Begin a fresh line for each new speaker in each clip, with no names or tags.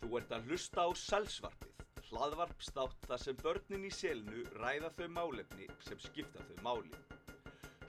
Þú ert að hlusta á Sælsvarpið, hlaðvarpstátt þar sem börnin í selinu ræða þau málefni sem skipta þau máli.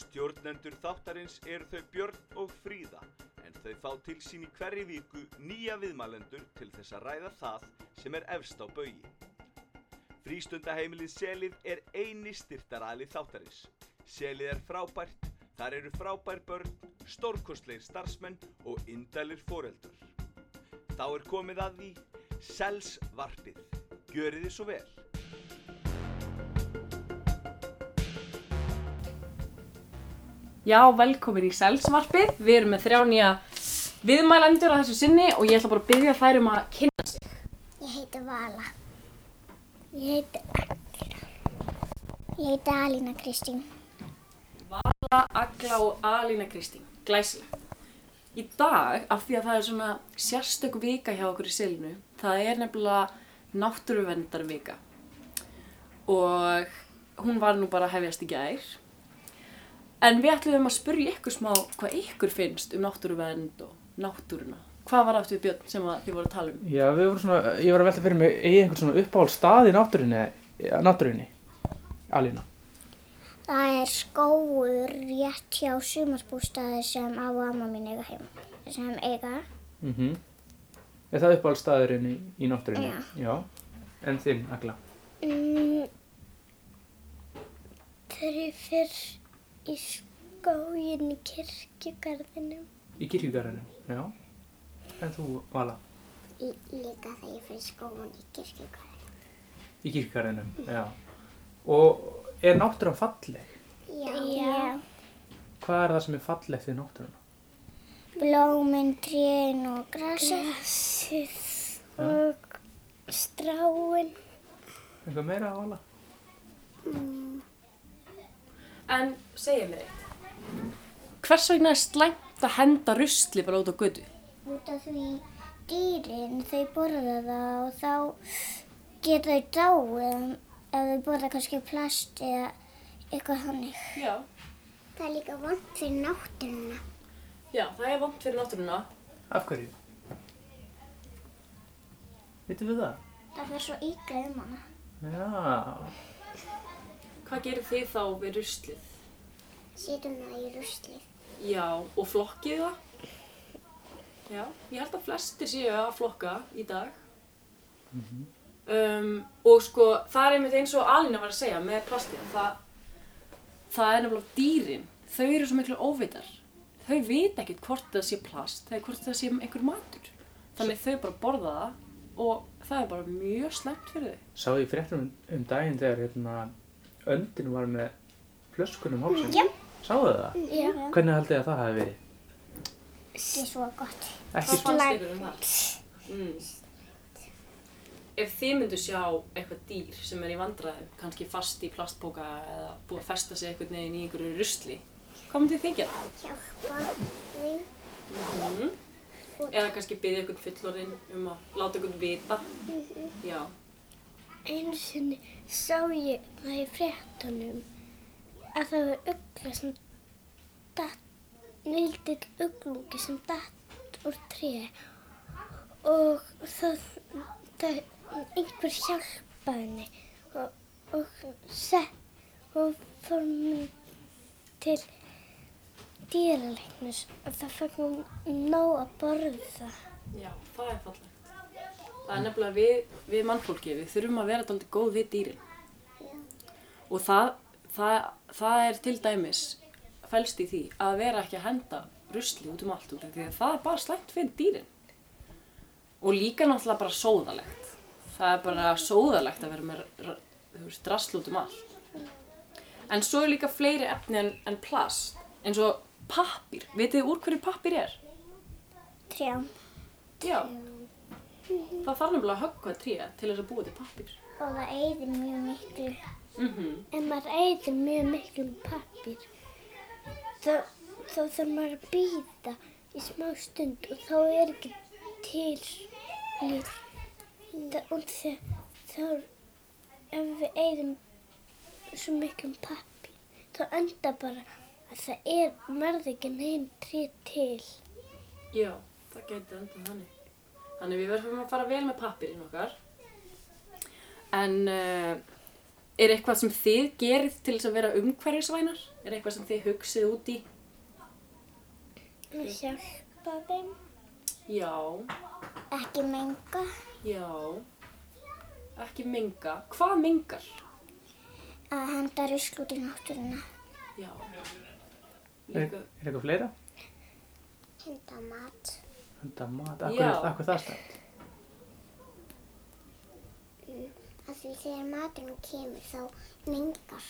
Stjórnendur þáttarins eru þau Björn og Fríða, en þau fá til sín í hverri viku nýja viðmælendur til þess að ræða það sem er efst á baugi. Frístundaheimilið Selið er eini styrtaræli þáttarins. Selið er frábært, þar eru frábær börn, stórkostleir starfsmenn og indælir foreldur. Þá er komið að því Selsvarpið. Gjörið þið svo vel.
Já, velkomin í Selsvarpið. Við erum með þrjá nýja viðmælendur að þessu sinni og ég ætla bara að byggja þær um að kynna.
Ég heiti Vala. Ég heiti Angela. Ég heiti Alina Kristín.
Vala, Agla og Alina Kristín. Glæsileg. Í dag, af því að það er svona sérstök vika hjá okkur í selinu, það er nefnilega náttúruvendarvika. Og hún var nú bara að hefjast í gær. En við ætlum að spyrja ykkur smá hvað ykkur finnst um náttúruvend og náttúruna. Hvað var aftur Björn sem að þið voru að tala um?
Já, við vorum svona, ég var að velta fyrir mig, eigi einhvern svona uppáhald stað í náttúrunni, eða- náttúrunni, Alina?
Það er skóur rétt hjá sumarbústaði sem á og amma mín eiga heim. Sem eiga.
Mhm. Er það uppáhald staðurinn í, í náttúrunni? Já. En þinn, Agla?
Mm, fyrir fyrr í skóginn í kirkjugarðinum.
Í kirkjugarðinu? Já. En þú, Vala?
Í, líka þegar ég fyrir skóin í kirkjugarðinum.
Í kirkjugarðinu? Já. Og er náttúran falleg?
Já. Já.
Hvað er það sem er fallegt við náttúruna?
Blómin, trén og grasið og stráin.
Eitthvað meira, Vala?
En segja mér eitt. Hvers vegna er slæmt að henda rusli bara út á götu?
Út af því dýrin þau borða það og þá geta þau dáið ef þau borða kannski plast eða eitthvað hannig.
Já.
Það er líka vant fyrir náttúruna.
Já, það er vant fyrir náttúruna.
Af hverju? Vitið við það?
Það fyrir svo ykkar um hana.
Já.
Hvað gerir þið þá við ruslið?
Sýtum það í ruslið.
Já, og flokkið það? Já, ég held að flestir séu að flokka í dag. um, og sko, það er einmitt eins og Alina var að segja með plastið. Það, það er nefnilega dýrin. Þau eru svo miklu óvitar. Þau vita ekkert hvort það sé plast eða hvort það sé einhver matur. Þannig þau bara borða það og það er bara mjög slæmt fyrir þau.
Sá ég fréttum um daginn þegar hérna öndin var með flöskunum hálsum.
Já.
Sáðu það?
Mm.
Já.
Hvernig haldið þið að það hefði verið?
Ekki svo gott.
Ekki
Hvað fannst ykkur um það? Mm. Ef þið myndu sjá eitthvað dýr sem er í vandræðum, kannski fast í plastbóka eða búið að festa sig einhvern veginn í einhverju rusli, hvað myndið þið þykja það?
Hjálpa því.
Eða kannski byrja einhvern fullorinn um að láta einhvern vita? Já.
Einu sinni sá ég það í fréttunum að það var ugla sem datt, nildill uglungi sem datt úr tré og það, það einhver hjálpaði henni og, og sett og fór hún til dýralegnus og það fór hún nóg að borða.
Já, það er fallegt. Það er nefnilega við, við mannfólki, við þurfum að vera dálítið góð við dýrin. Og það, það, það er til dæmis fælst í því að vera ekki að henda rusli út um allt út af því að það er bara slæmt fyrir dýrin. Og líka náttúrulega bara sóðalegt. Það er bara sóðalegt að vera með r- þú veist, drasl út um allt. En svo er líka fleiri efni en, en plast, eins og pappir. Vitið þið úr hverju pappir er?
Trjám
Já. Það þarf nefnilega að höggva tré til þess að búa til pappir.
og það eyðir mjög miklu.
Mm
Ef maður eyðir mjög miklu um pappir, þá, þá þarf maður að býta í smá stund og þá er ekki til líf. Það- Og þe- þá, ef við eyðum svo miklu um pappir, þá enda bara að það er, verður ekki neinn tré til.
Já, það gæti endað þannig. Þannig við verðum að fara vel með pappirinn okkar. En uh, er eitthvað sem þið gerið til þess að vera umhverfisvænar? Er eitthvað sem þið hugsið út í?
að hjálpa þeim.
Já,
Ekki menga.
já, ekki menga. Hvað mengar?
Að henda rusl út í náttúruna.
Já,
Er, er
líka,
eitthvað fleira?
Henda mat.
Henda mat,
Já.
akkur, akkur það stætt.
Að því þegar maturinn kemur þá mengar.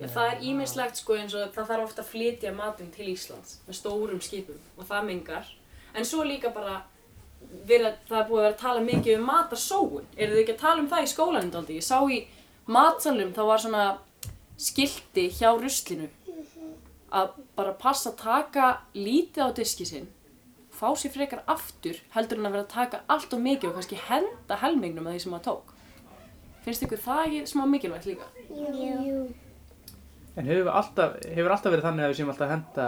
Já, það er ímislegt sko eins og það þarf ofta að flytja matinn til Íslands með stórum skipum og það mengar. En svo líka bara, vera, það er búið að vera að tala mikið um matarsóun. Eru þið ekki að tala um það í skólanum daldi? Ég sá í matsalum þá var svona skilti hjá ruslinu að bara passa að taka lítið á diski sinn, fá sér frekar aftur heldur en að vera að taka allt og mikið og kannski henda helmingnum að því sem maður tók. Finnst ykkur það ekki smá mikilvægt líka?
Jú. Jú.
En hefur alltaf, hefur alltaf verið þannig að við séum alltaf að henda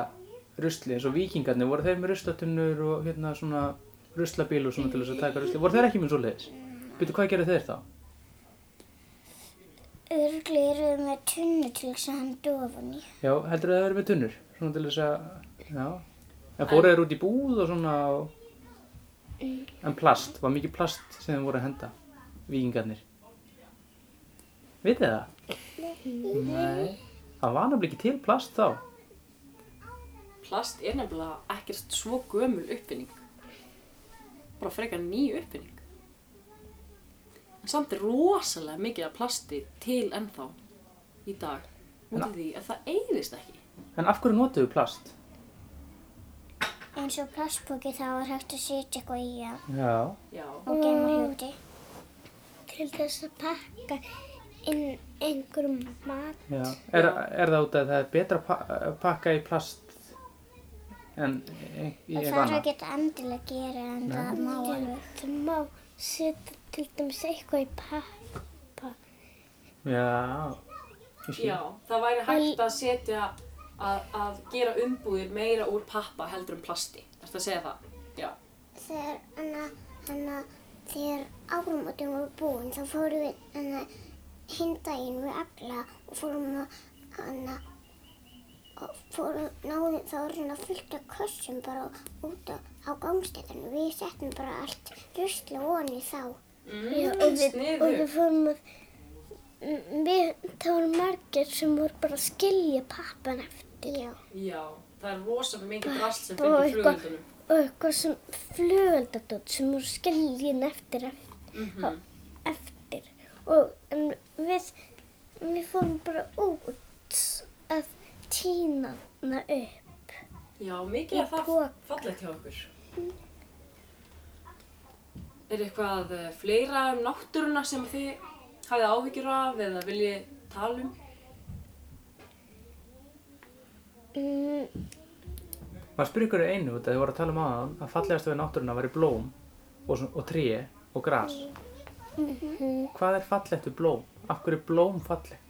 rusli eins og vikingarnir, voru þeir með ruslatunnur og hérna svona ruslabíl og svona til þess að taka rusli, voru þeir ekki með svoleiðis? Býtu, hvað gerðu þeir þá?
Örgli eru með tunnu til þess að henda ofan í.
Já, heldur þeir að þeir eru með tunnur, svona til þess að, já. En fóru þeir út í búð og svona, og... en plast, var mikið plast sem þeir voru að henda, vikingarnir. Vitið þið það? Nei. Það var nefnilega ekki til plast þá.
Plast er nefnilega ekkert svo gömul uppfinning. Bara frekar ný uppfinning. En samt er rosalega mikið af plasti til ennþá í dag. Út af því að það eigðist ekki.
En af hverju notuðu plast?
Eins og plastbóki þá er hægt að setja eitthvað í hann
Já.
Já,
og gemma hluti. Mm. Til þess að pakka inn einhverjum mat.
Já, er, er það út að það er betra að pa að pakka í plast en í í
Það
eitthvað
þarf
annað?
ekki endilega að gera en það má alveg. Það má setja til dæmis eitthvað í pappa.
Já, ég skil.
já það væri hægt að setja að, að gera umbúðir meira úr pappa heldur en plasti. Ertu að segja það? Já.
Þegar hana, hana, þegar áramótum voru búin þá fórum við hana, hinn daginn við alla og fórum að hana, og fórum, náðum, þá var svona fullt af kössum bara út á, á gangstæðinu. Við settum bara allt rusla voni þá.
Mm,
Já, og við, og
Sniður.
við fórum að, m- við, það voru margir sem voru bara að skilja pappan eftir. Já.
Já, það er rosalega mikið plast sem
Bara
fylgir
eitthvað-
flugöldunum.
Og eitthvað sem flugöldadótt sem voru skiljin eftir
Mhm.
eftir. Og en við, við fórum bara út að týna hana upp.
Já, mikið er
Í
það
poka.
fallegt hjá okkur. Er eitthvað eh, fleira um náttúruna sem þið hafið áhyggjur af eða viljið tala um?
Mm,
Maður spyrir ykkur einu út að þið voru að tala um aðan að fallegast við náttúruna væri blóm og, svo- og tré og gras. Hvað er fallegt við blóm? Af hverju er blóm fallegt?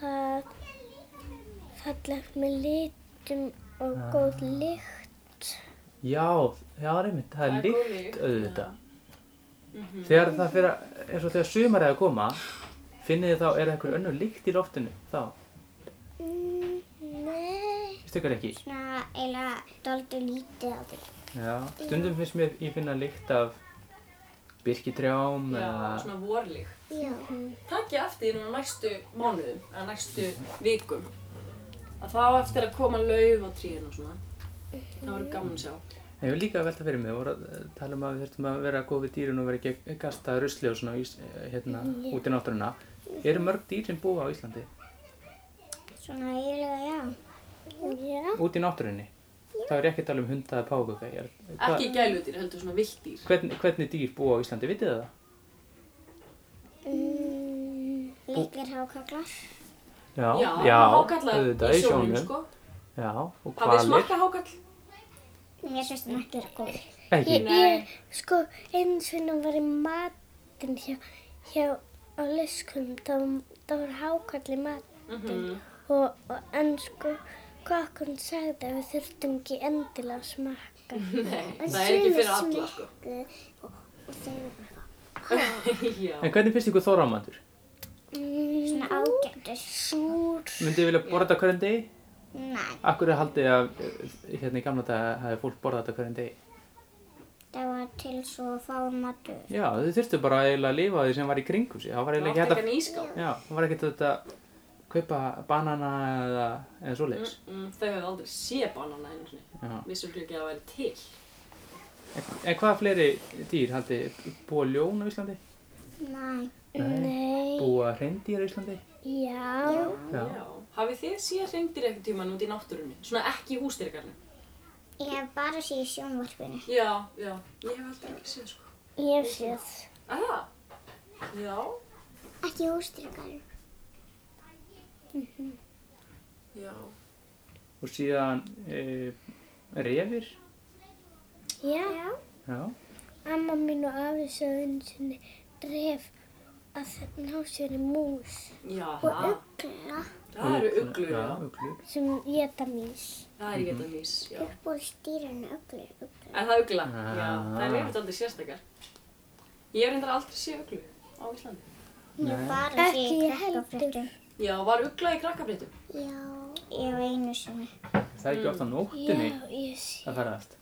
það fallegt með litum og góð lykt.
Já, já, reymitt, það
Það er
er
góð Mhm.
líkt
lykt,
auðvitað. Þegar það fyrir að, eins og þegar sumar er að koma, finnið þið þá, er það einhver önnur líkt í loftinu þá?
Mm, nei.
Vistu ykkur ekki?
Svona eiginlega doldur lítið á því.
Já, stundum finnst mér ég finna lykt af birkitrjám
Já,
eða
svona vorlík.
Já.
Takk ég eftir því núna næstu mánuðum, eða næstu vikum. Að þá á eftir að koma lauf á tríun og svona. Það verður gaman að sjá.
Ég hefur líka að velta fyrir mig, voru að eh, tala um að við þurfum að vera góð við dýrun og vera ekki að gasta rusli og svona í, s- eh, hérna, út í náttúruna. Eru mörg dýr sem búa á Íslandi?
Svona eiginlega já. Já.
Út í náttúrunni? Það er ekki að tala um hundaði pákukæjar.
Ekki gæludýr, heldur svona viltdýr.
Hvern, hvernig dýr búa á Íslandi, vitið þið það?
Mm, Leikir hákallar.
Já,
hákarlar
auðvitað,
í sjónum, sko.
Já, og
Hafið
hvalir.
smakka hákall?
Mér finnst það ekki vera góð.
Ekki,
Ég,
Nei.
ég, sko, eins og hún var í matinn hjá, hjá á leskunum, þá, þá var hákall í matinn.
Mhm.
Og, og en sko, kokkurinn sagði að við þurftum ekki endilega að smakka.
Nei,
En
það er ekki
sumir
fyrir alla, sko.
smekkuðu Og, og þeir voru bara,
Já.
En hvernig finnst ykkur þóramandur?
mm, svona ágættur. Súr.
Myndið vilja borða þetta hverjum degi?
Nei,
Akkur er haldið að eh, hérna í gamla daga hafi fólk borðað þetta hverjum degi?
það var til svo að fá matur.
Já, þau þurftu bara eiginlega að lifa á því sem var í kringum sig. Það var
Það
eiginlega
átti
ekki
ekki
hægt
að
að...
nýská.
Já, það var ekkert þetta að kaupa banana eða, eða svoleiðis.
Mm, þau hefðu aldrei séð banana einu sinni.
Já.
Vissum ekki að það væri til.
En, en hvaða fleiri dýr haldið? Búa ljón á Íslandi?
Nei.
Nei.
Nei.
Búa hreindýr á Íslandi?
Já.
Já.
Hafið þið séð reyndir eitthvað tíman út í náttúrunni? Svona ekki í hústýrigarnum?
Ég hef bara séð í sjónvarpinu.
Já, já. Ég hef aldrei ekki séð, sko.
Ég hef séð.
Að það? Já.
Ekki hústyrkarinn.
Já.
Og síðan e, refir?
Já. Já.
Já.
Amma mín og afi sögðu einu sinni dref að ná sér í mús
Já,
og
það.
ugla
Það eru uglur,
Já,
já.
uglur.
sem geta mís.
Það er geta mís, já.
Upp og stýrinu ugla er ugla.
Er það ugla?
Ah.
Já. Það er yfirleitt aldrei sérstakar. Ég hef reyndar aldrei séð uglu á Íslandi.
Nei.
bara sé
Ekki
í
ég heldur.
krakkafréttum.
Já, var ugla í krakkafréttum?
Já.
Ég var einu sinni.
Það er ekki oft á nóttinni
Já, ég sé.
að ferðast.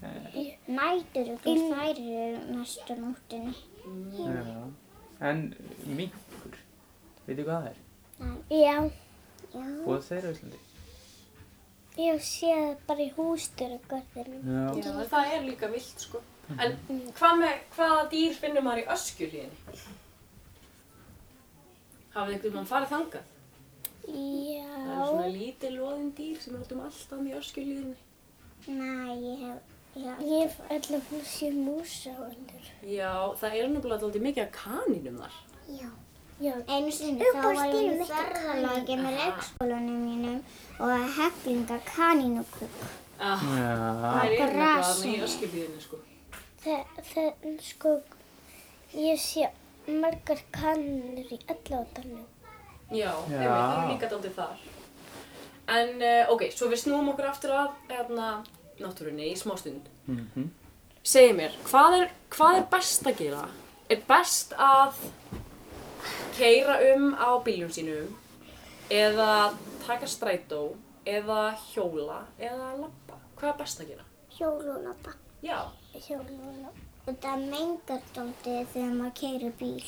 Nætur og
Inn-
þær eru næstu nóttinni.
Já. En minkur, veitu hvað það er?
Já,
Búa þeir á Íslandi?
ég hef séð það bara í hústyrkarinn.
Já.
Já, en það er líka vilt, sko. En hvað með, hvaða dýr finnum maður í öskjulíðinni? Hafið einhvern veginn farið þangað? Það eru svona
Já.
lítið loðin dýr sem er út um allt annað í öskjulíðinni.
Nei, ég hef, já,
Ég hef alltaf séð músa á öllur.
Já, það er nefnilega alltaf mikið af kaninum þar.
já.
Já.
Einu sinni
Upp
þá
úr
var ég
stígnum
með
eitt
ferðalagi með
kanínu.
leikskólanum mínum og heflinga kanínukúk.
Ah,
Já.
það er nefnilega þarna í
grasið.
öskjulíðinni, sko.
Það, það, sko, ég sé margar kannur í allátanum.
Já,
Já.
einmitt, það er líka daldið þar. En, uh, ok, svo við snúum okkur aftur að, hérna, náttúrunni í smástund.
Mhm.
Segðu mér, hvað er, hvað er best að gera? Er best að keira um á bíljum sínum eða taka strætó eða hjóla eða lappa? Hvað er best að gera?
Hjólulapa.
Já,
Hjóla.
Og það mengar dótið þegar maður keiri bíl.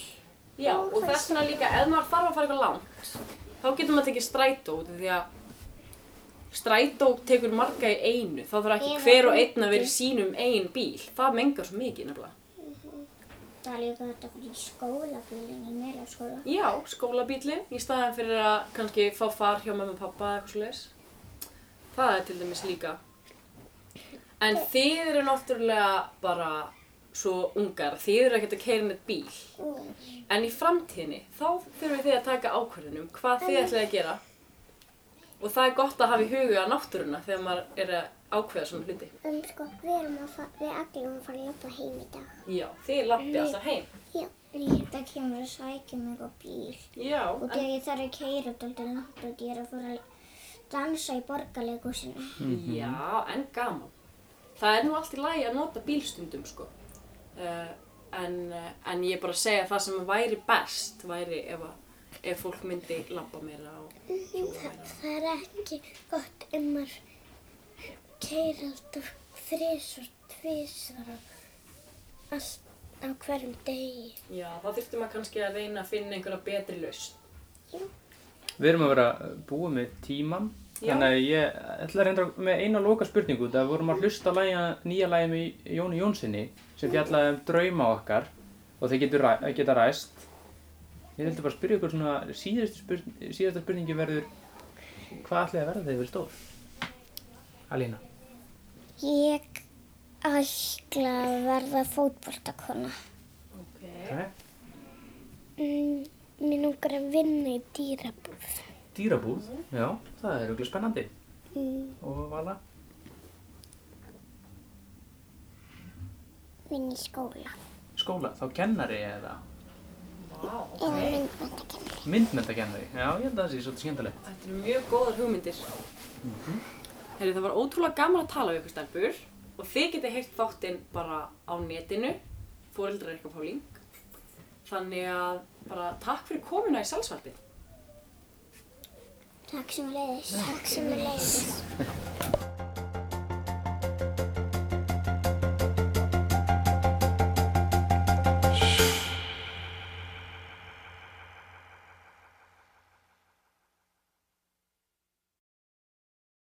já, og þess vegna líka, ef maður þarf að fara eitthvað langt, þá getur maður tekið strætó út af því að strætó tekur marga í einu, þá þarf ekki
Eða
hver og einn að vera í sínum einn bíl. Það mengar svo mikið nefnilega.
Það er líka þetta fyrir skólabílinn í meira skóla.
Já, skólabílinn, í staðan fyrir að kannski fá far hjá mamma og pappa eða eitthvað svoleiðis. Það er til dæmis líka. En þið eru náttúrulega bara svo ungar, þið eru ekkert að keira neitt bíl. En í framtíðinni, þá þurfum þið að taka ákvörðunum hvað þið ætlaði að gera. Og það er gott að hafa í huga náttúruna þegar maður er að ákveða svona hluti.
Um sko, við erum að fara, við allir erum að fara að lappa heim í dag.
Já, þið lappi alltaf heim.
Já. Þetta kemur að sækja mig á bíl.
Já,
Og
en,
þegar ég þarf að keira dálítið langt og ég er að fara að dansa í borgarleikúsinu.
Já, en gaman. Það er nú allt í lagi að nota bílstundum, sko. Uh, en, uh, en ég er bara að segja að það sem væri best væri ef, að, ef fólk myndi labba meira og hjóla meira.
Það er ekki gott ef maður keir alltaf þrisvar, tvisvar á, allt, á hverjum degi.
Já, þá þurfti maður kannski að reyna að finna einhverja betri lausn.
Við erum að vera búið með tíman
Já.
Þannig að ég ætla að reynda með eina loka spurningu Það vorum að hlusta á lægja, nýja lægi með Jóni Jónssoni sem fjallaði um drauma okkar og þeir getur, ræ- geta ræst Ég ætla bara að spyrja ykkur svona síðasta, spurn, síðasta spurningi verður Hvað ætlaði að verða þegar þið verið stór? Alína
Ég ætla að verða fótboltakona.
Ok.
okay.
Mm, mér langar að vinna í dýrabúð.
Dýrabúð, já, það er auðvitað spennandi
Mm,
Og Vala?
vinna í skóla.
Skóla, þá kennari eða
Vá,
Eða
ok.
myndmyndakennari.
myndmyndakennari Já, ég held að það sé svolítið skemmtileg
Þetta eru mjög góðar hugmyndir. Heyrðu, það var ótrúlega gaman að tala við ykkur stelpur og þið getið heyrt þáttinn bara á netinu, foreldrar ykkar Pálín. Þannig að bara takk fyrir komuna í salsvarpið.
Takk sem leiðis. Takk sem leiðis.